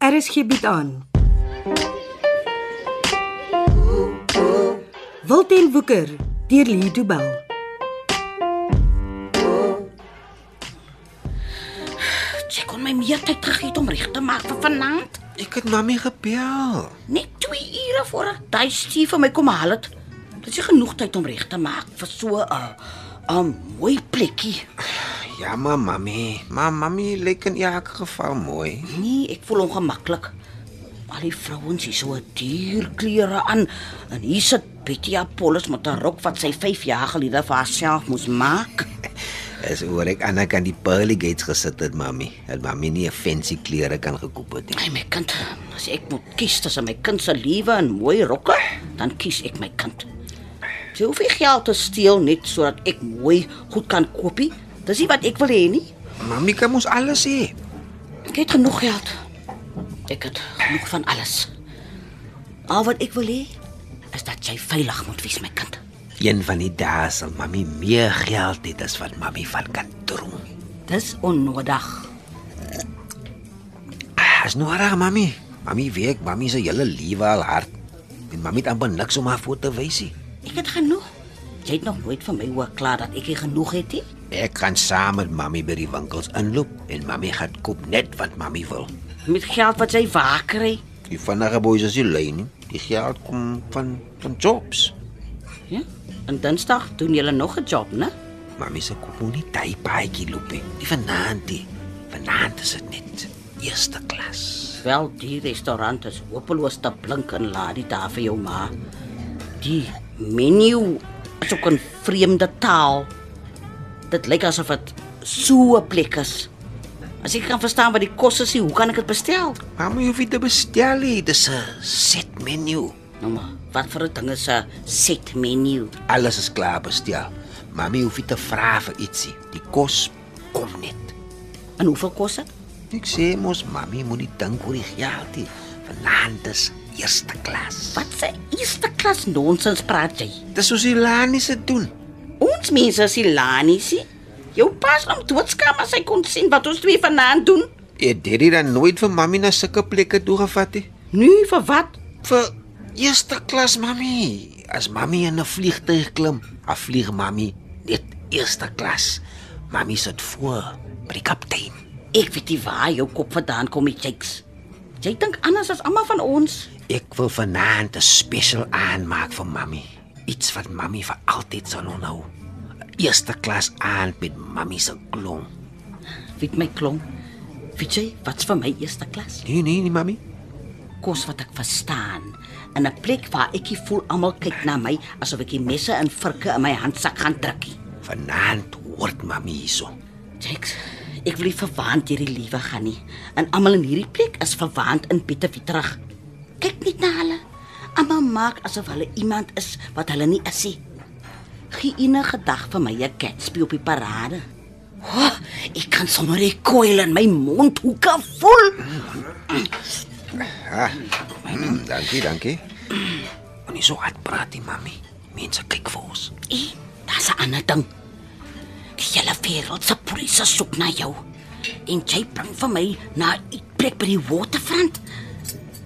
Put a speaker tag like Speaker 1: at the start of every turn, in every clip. Speaker 1: RSG bied aan. Wilten Woeker deur Lee Du Bell.
Speaker 2: Check on my meer tyd gegee om reg te maak vir vanaand.
Speaker 3: Ek het mami gebel.
Speaker 2: Net 2 ure voor ek daai stief van my kom haal het. Dit is nie genoeg tyd om reg te maak vir so 'n 'n mooi plekkie.
Speaker 3: Ja, maar mami. Maar mami lyk in elk geval mooi.
Speaker 2: Nee, ek voel ongemaklik. Al die vrouens hier so duur klere aan en hier sit Betty Apollos met 'n rok wat sy 5 jaar gelede vir haarself moes maak.
Speaker 3: Is oor ek aan kan die pearly gates gesit het, mami. Het mami nie 'n fancy klere kan gekoop het nie.
Speaker 2: Ai my kind, as ek moet kies tussen my kind se lewe en mooi rokke, dan kies ek my kind. Sy hoef nie geld te steel net sodat ek mooi goed kan koopie. Dis nie wat ek wil hê nie.
Speaker 3: Mami kan mos alles hê.
Speaker 2: Ek het genoeg geld. Ek het genoeg van alles. Al wat ek wil hê, is dat jy veilig moet wees my kind.
Speaker 3: Een van die dae sal mami meer geld hê as wat mami van kan droom.
Speaker 2: Dis onnodig.
Speaker 3: As nou reg, mami. Mami weet mami se hele lewe al hard. En mami het amper niks om haar voor te wys nie.
Speaker 2: Ek het genoeg. Jy het nog nooit van my hoor klaar dat ek nie genoeg het nie.
Speaker 3: Ek gaan saam met mami by die winkels inloop en mami gaan koop net wat mami wil.
Speaker 2: Met geld wat jy waar kry.
Speaker 3: Die vinnige boeis is nie lui nie. Die geld kom van van jobs.
Speaker 2: Ja? En Dinsdag doen julle nog 'n job, né?
Speaker 3: Mami se koop nie daai paadjie loop nie. Die vanaand die. Vanaand is dit net eerste klas.
Speaker 2: Wel, die restaurant is hopeloos te blink en laat dit daar vir jou ma. Die menu is ook 'n vreemde taal. Dit lyk asof dit so 'n plek is. As ek kan verstaan wat die kos is, nie, hoe kan ek dit bestel?
Speaker 3: Mami hoef nie te bestel nie. Dis 'n set menu.
Speaker 2: Nou maar, wat vir 'n ding is 'n set menu?
Speaker 3: Alles is klaar bestel. Mami hoef nie te vra vir ietsie. Die kos kom net.
Speaker 2: En hoeveel kos dit?
Speaker 3: Ek sê mos mami moet nie dink oor die geld nie. Vanaand is eerste klas.
Speaker 2: Wat 'n eerste klas nonsens praat jy?
Speaker 3: Dis soos die Lani se doen.
Speaker 2: Ons mense is nie lanisie. Jou pas hom doodskam as hy kon sien wat ons twee vanaand doen.
Speaker 3: Ek het dit dan nooit vir mami na sulke plekke toe gevat nie.
Speaker 2: Nu vir wat?
Speaker 3: vir eerste klas mami. As mami in 'n vliegtuig klim, dan vlieg mami net eerste klas. Mami sit voor by die kaptein.
Speaker 2: Ek weet nie waar jou kop vandaan kom, die Jakes. Jy dink anders as almal van ons.
Speaker 3: Ek wil vanaand 'n special aanmaak vir mami. Iets wat mami vir altyd sal onthou. 'n Eerste klas aand met mami se klom.
Speaker 2: Weet my klomp. Weet jy wat's vir my eerste klas?
Speaker 3: Nee nee nee mami.
Speaker 2: Kos wat ek verstaan. In 'n plek waar ek nie voel almal kyk na my asof ek die messe en vurke in my handsak gaan drukkie.
Speaker 3: Vanaand word mami hierso.
Speaker 2: Jakes, ek wil nie verwaand hierdie liewe gaan nie. En almal in hierdie plek is verwaand in Pieter Witrig. Kyk net na hulle. Almal maak asof hulle iemand is wat hulle nie is nie. Gee enige dag vir my 'n catspie op die parade. Oh, ek kan sommer die koil in my mondhoeke voel.
Speaker 3: Ah, mm, dankie, dankie. Moenie so hard praat nie, mami. Mense kyk vir ons.
Speaker 2: En Eh, daar's 'n ander ding. Die hele wêreld se polisie soek na jou. En jy bring vir my na 'n plek by die waterfront.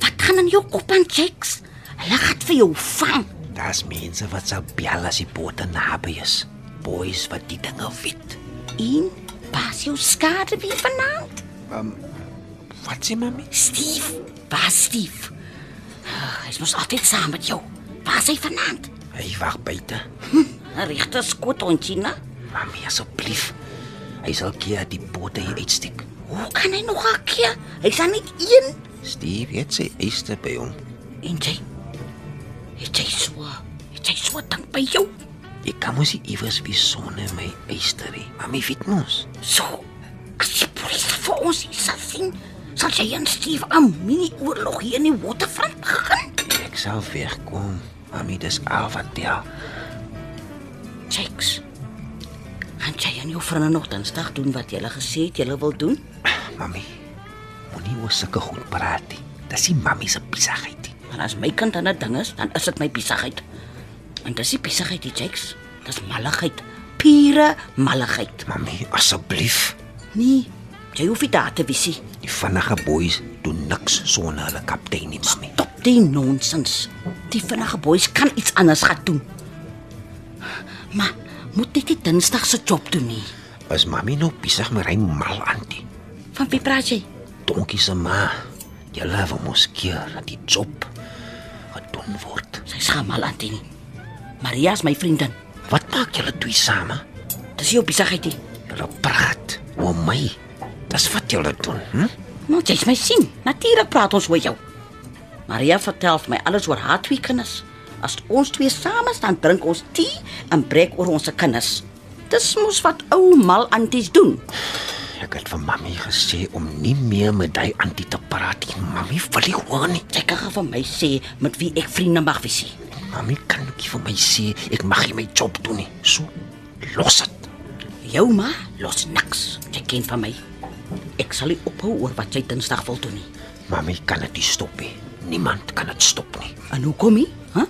Speaker 2: Wat gaan in jou kop aan, Jakes? Hulle gaan vir jou vang.
Speaker 3: Daar's mense wat sal bel as die bote naby is. Boys wat die dinge weet.
Speaker 2: En pas jou skade wie vanaand.
Speaker 3: Wat sê mami?
Speaker 2: Steve, waar is Steve? Ah, Hy mos altyd saam met jou. Waar is hy vanaand?
Speaker 3: Hy wag buite.
Speaker 2: Hm, 'n Regte skot ontjie, na?
Speaker 3: Mami, asseblief. Hy sal keer dat die bote hier uitsteek.
Speaker 2: Hoe kan hy nog 'n keer? Hy's aan net een.
Speaker 3: Steve het sy eiste by hom.
Speaker 2: En jy? Het jy so? Het jy so dink by jou?
Speaker 3: Ek kan mos nie iewers wie sonder my eiste nie. Mami weet mos.
Speaker 2: So. As die polisie vir ons hier sal sien, sal jy en Steve 'n mini-oorlog hier in die waterfront begin.
Speaker 3: Ek sal wegkom. Mami, dis al wat tel.
Speaker 2: Jakes. Gaan jy en jou vriende nog Dinsdag doen wat jy gesê het jy wil doen?
Speaker 3: Mami, moenie oor sulke goed praat nie. Dis nie mami se besigheid nie.
Speaker 2: Maar as my kind aan 'n ding is, dan is dit my besigheid. En dis nie besigheid, die Jakes. Dis malligheid. Pure malligheid.
Speaker 3: Mami, asseblief.
Speaker 2: Nee, jy hoef nie daar te wees nie.
Speaker 3: Die vinnige boeis doen niks sonder hulle kaptein nie, mami.
Speaker 2: Stop die nonsens. Die vinnige boeis kan iets anders gaan doen. Maar moet net die Dinsdag se job doen nie.
Speaker 3: Is mami nou besig met hy mal antie?
Speaker 2: Van wie praat jy?
Speaker 3: Donkie se ma. Julle wil mos keer dat die job gedoen word.
Speaker 2: Sy skaam al aan teen. Maria is my vriendin.
Speaker 3: Wat maak julle twee same?
Speaker 2: Dis jou besigheid nie.
Speaker 3: Julle praat oor my. Dis wat julle doen, hm?
Speaker 2: Moet jy Nou, my sien. Natuurlik praat ons oor jou. Maria vertel vir my alles oor haar twee kinders. As ons twee saam staan, drink ons tee en breek oor ons kinders. Dis mos wat ou mal anties doen.
Speaker 3: Ek het vir mami gesê om nie meer met daai antie te praat nie. Mami wil nie hoor nie.
Speaker 2: Sy kan gaan vir my sê met wie ek vriende mag wees. nie.
Speaker 3: Mami kan ook nie vir my sê ek mag nie my job doen nie. So los dit.
Speaker 2: Jou ma los niks. Jy ken van my. Ek sal nie ophou oor wat jy Dinsdag wil doen nie.
Speaker 3: Mami kan dit nie stop nie. Niemand kan dit stop nie.
Speaker 2: En hoekom nie? Hæ?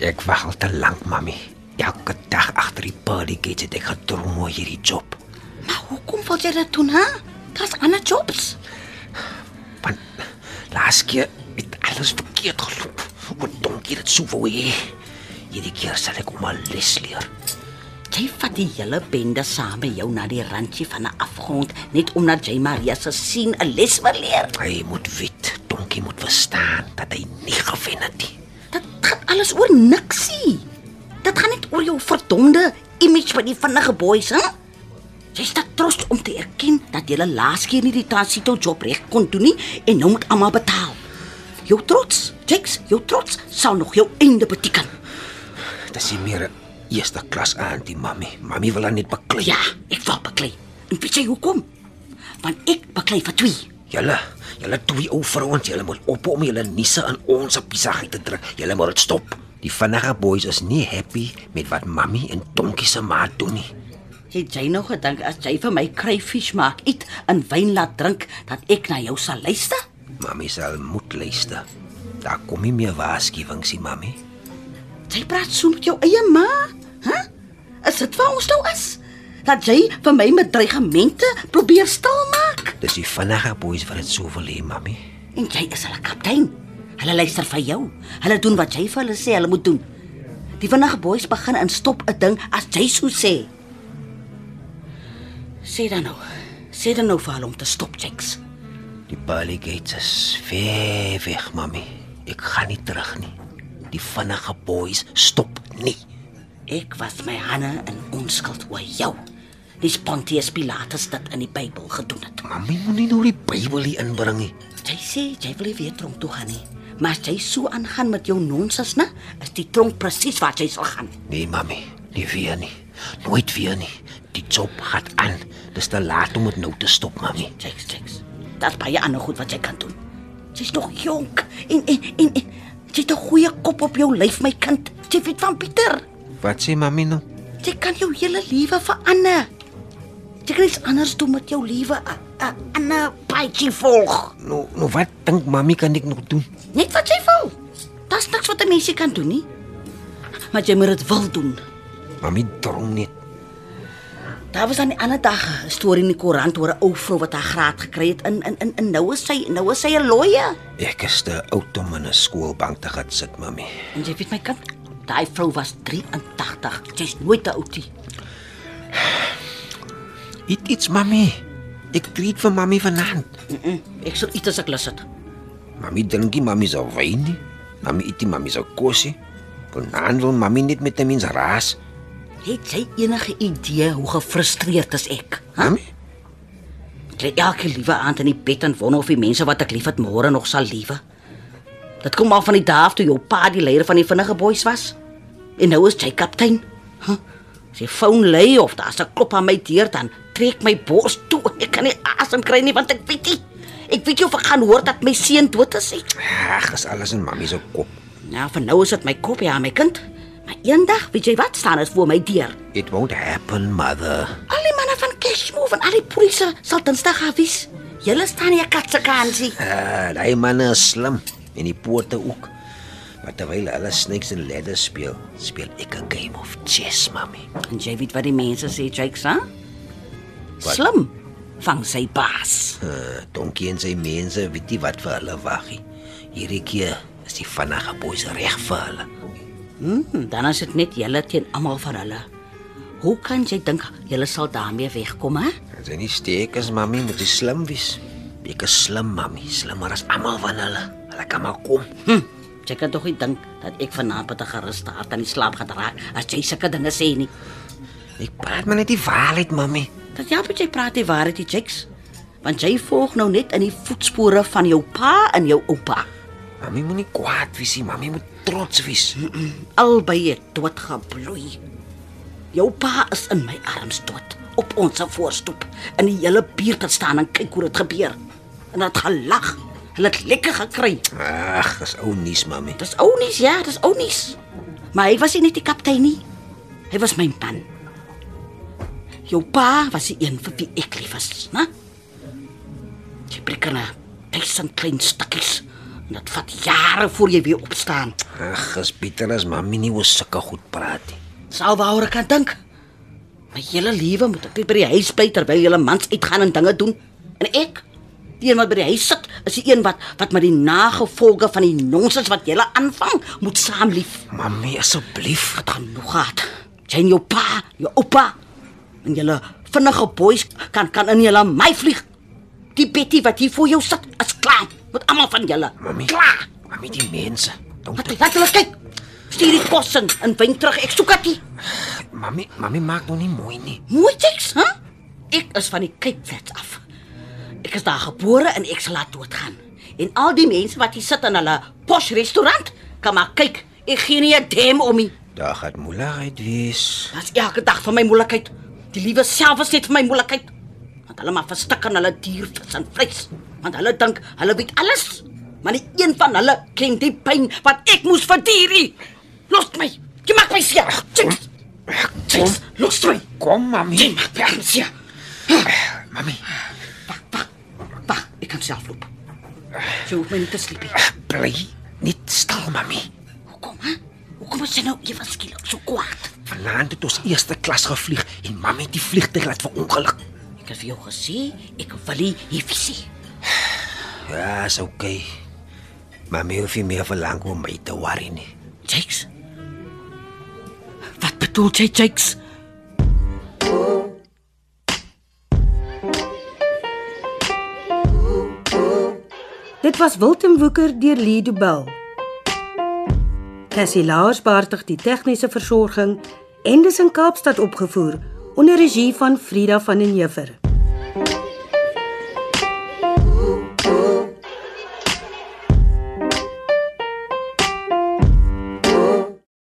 Speaker 3: Ek wag al te lank, mami. Elke dag agter die pearly gates het ek gedroom oor hierdie job.
Speaker 2: Maar hoekom wil jy dit doen, hè? Daar's ander jobs.
Speaker 3: Want laas keer het alles verkeerd geloop. Hoe donkie dit sou wou hê. Hierdie keer sal ek hom al les leer.
Speaker 2: Jy vat die hele bende saam met jou na die randjie van 'n afgrond net omdat jy Maria se sien 'n les wil leer.
Speaker 3: Hy moet weet, donkie moet verstaan dat hy nie gewen het nie.
Speaker 2: Dit gaan alles oor niksie. Dit gaan net oor jou verdomde image by die vinnige boeis, hè? Jy's te trots om te erken dat jy laas keer nie die transito job reg kon doen nie en nou moet almal betaal. Jou trots, Jakes, jou trots sal nog jou einde beteken.
Speaker 3: Dis nie meer 'n eerste klas auntie, mami. Mami wil haar net beklei.
Speaker 2: Ja, ek wil beklei. En weet jy hoekom? Want ek beklei vir twee.
Speaker 3: Julle, julle twee ou vrouens, julle moet op om julle niese in ons piesigheid te druk. Julle moet dit stop. Die vinnige boys is nie happy met wat mami en donkie se ma doen nie.
Speaker 2: Het jy nou gedink as jy vir my kryfies maak, eet en wyn laat drink, dat ek na jou sal luister?
Speaker 3: Mami sal moet luister. Daar kom nie meer waarskuwings nie, mami.
Speaker 2: Jy praat so met jou eie ma, hè? Is dit waar ons nou is? Dat jy vir my met dreigemente probeer stil maak
Speaker 3: Dis die vinnige boeis wat dit so wil hê, mami.
Speaker 2: en jy is hulle kaptein. Hulle luister vir jou. Hulle doen wat jy vir hulle sê hulle moet doen. Die vinnige boeis begin en stop 'n ding as jy so sê. Sê dan nou. Sê dan nou vir hulle om te stop, Jakes.
Speaker 3: Die Pearly Gates is ver weg, mami. Ek gaan nie terug nie. Die vinnige boeis stop nie.
Speaker 2: Ek was my hande in onskuld oor jou. Dis Pontius Pilatus dit in die Bybel gedoen het.
Speaker 3: Mami moenie nou die Bybel hier inbring nie.
Speaker 2: Jy sê jy wil nie weer tronk toe gaan nie, maar as jy so aangaan met jou nonsens, né, is die tronk presies waar jy sal gaan.
Speaker 3: Nee, mami, nie weer nie. Nooit weer nie. Die job gaan aan. Dis te laat om dit nou te stop, mami.
Speaker 2: Jacks, Jacks. Daar's baie ander goed wat jy kan doen. Jy's nog jonk en en en, en jy het 'n goeie kop op jou lyf, my kind. Jy weet van Pieter.
Speaker 3: Wat sê mami nou?
Speaker 2: Jy kan jou hele lewe verander. Jy kan iets anders doen met jou lewe, 'n- 'n ander paadjie volg.
Speaker 3: Nou, nou wat dink mami kan ek nog doen?
Speaker 2: Net wat jy wil. Daar's niks wat 'n mens nie kan doen nie. Maar jy moet dit wil doen.
Speaker 3: Mami drong net.
Speaker 2: Daar was aan die ander dag 'n storie in die koerant oor 'n ou vrou wat haar graad gekry het in in in, in nou is sy nou is sy 'n looie.
Speaker 3: Ek is te oud om in 'n skoolbank te gaan sit, mami.
Speaker 2: En jy weet my kind, daai vrou was 83. Sy's nooit te oud nie.
Speaker 3: Eet iets, mami. Ek treat vir mami vanaand.
Speaker 2: Mm -mm, ek sal iets as ek lus het.
Speaker 3: Mami drink nie mami se wyn nie. Mami eet nie mami se kos nie. Vanaand wil mami net met 'n mens raas.
Speaker 2: Het jy enige idee hoe gefrustreerd is ek? Huh?
Speaker 3: Mami,
Speaker 2: Ek lê elke liewe aand in die bed en wonder of die mense wat ek liefhet môre nog sal liewe. Dit kom maar van die dag af toe jou pa die leier van die vinnige boeis was. En nou is jy kaptein. Huh? As jy foon lê of daar's 'n klop aan my deur dan trek my bors toe. Ek kan nie asem kry nie want ek weet nie. Ek weet jy of ek gaan hoor dat my seun dood is. He.
Speaker 3: ag, is alles in mami se kop.
Speaker 2: Nou van nou is dit my kop ja my kind. Maar eendag, weet jy wat, staan dit voor my deur.
Speaker 3: It won't happen, mother.
Speaker 2: Al die manne van Cashmove en al die polisie sal Dinsdag afwys. Julle staan hier katse kansie.
Speaker 3: Ah, daai manne is slim en die poorte ook. Maar terwyl hulle snakes en ladders speel, speel ek 'n game of chess, mami.
Speaker 2: En jy weet wat die mense sê, Jakes, hè? Slim. van sy baas.
Speaker 3: Uh, donkie en sy mense weet nie wat vir hulle wag nie. Hierdie keer is die vinnige boeis reg vir hulle.
Speaker 2: Hmm, dan is dit net julle teen almal van hulle. Hoe kan jy dink julle sal daarmee wegkom, hè?
Speaker 3: As jy nie steek as mami moet jy slim wees. Ek is slim mami, slimmer as almal van hulle. Hulle kan maar kom.
Speaker 2: Hm. Jy kan tog nie dink dat ek vanaand met 'n geruste hart aan die slaap gedraak as jy sulke dinge sê nie.
Speaker 3: Ek praat maar net die waarheid mami.
Speaker 2: Dat ja, jy praat die waarheid, die Jakes. Want jy volg nou net in die voetspore van jou pa en jou oupa.
Speaker 3: Mami moenie kwaad wees nie, mami moet trots wees.
Speaker 2: Albei het dood gebloei. Jou pa is in my arms dood op ons voorstoep. In die hele buurt het staan en kyk hoe dit gebeur. En dat gelag. Hulle het lekker gekry.
Speaker 3: Ag, dis ou nuus mami.
Speaker 2: Dis ou nuus, ja, dis ou nuus. Maar hy was nie net die kaptein nie. Hy was my man. Jou pa was die een vir wie ek lief was, né? Jy breek na duisend klein stukkies en dit vat jare voor jy weer opstaan.
Speaker 3: Ag, as Pieter as mami nie oor sulke goed praat nie.
Speaker 2: Sou waaroor ek kan dink. My hele lewe moet ek net by die huis bly terwyl julle mans uitgaan en dinge doen. En ek, die een wat by die huis sit, is die een wat wat met die nagevolge van die nonsens wat julle aanvang, moet saamlief.
Speaker 3: Mami, asseblief.
Speaker 2: Wat gaan nog gehad? Jy en jou pa, jou oupa en julle vinnige boeis kan kan in julle my vlieg. Die Betty wat hier voor jou sit, is klaar met almal van julle.
Speaker 3: Mami.
Speaker 2: Klaar.
Speaker 3: Mami, die mense. Don't
Speaker 2: Wat laat hulle kyk. Stuur die kos in en bring terug. Ek soek dit.
Speaker 3: Mami, mami maak nou nie mooi nie.
Speaker 2: Moet ek, hè? Ek is van die Kaapvlats af. Ek is daar gebore en ek sal laat doodgaan. En al die mense wat hier sit in hulle posh restaurant, kan maar kyk. Ek gee nie 'n damn om nie.
Speaker 3: Daar gaan moeilikheid wees.
Speaker 2: Dit's elke dag van my moeilikheid. Die liewe self is net vir my moeilikheid. Want hulle maar verstik aan hulle dier vis en vleis. Want hulle dink hulle weet alles, maar nie een van hulle ken die pyn wat ek moes verduur nie. Los my. Jy maak my seer. Chicks. Chicks. Los my.
Speaker 3: Kom
Speaker 2: Jy
Speaker 3: mami.
Speaker 2: maak my seer.
Speaker 3: Mami,
Speaker 2: Wag, wag. Wag, ek kan self loop. Jy hoef my nie te sleep nie.
Speaker 3: bly net stil mami.
Speaker 2: Hoekom, hè? Hoekom is jy nou ewe skielik so kwaad?
Speaker 3: Vanaand het ons eerste klas gevlieg en mami het die vliegtyg laat verongeluk.
Speaker 2: Ek het vir jou gesê, ek wil nie hier sien.
Speaker 3: Ja, is okay. Mami hoef nie meer verlang om my te worry nie.
Speaker 2: Jakes? Wat bedoel jy, Jakes?
Speaker 1: Dit was Wilten Woeker deur Lee Du Bell. Cassie Lars beheerdig die tegniese versorging en dis in Kaapstad opgevoer onder regie van Frida van den Heever.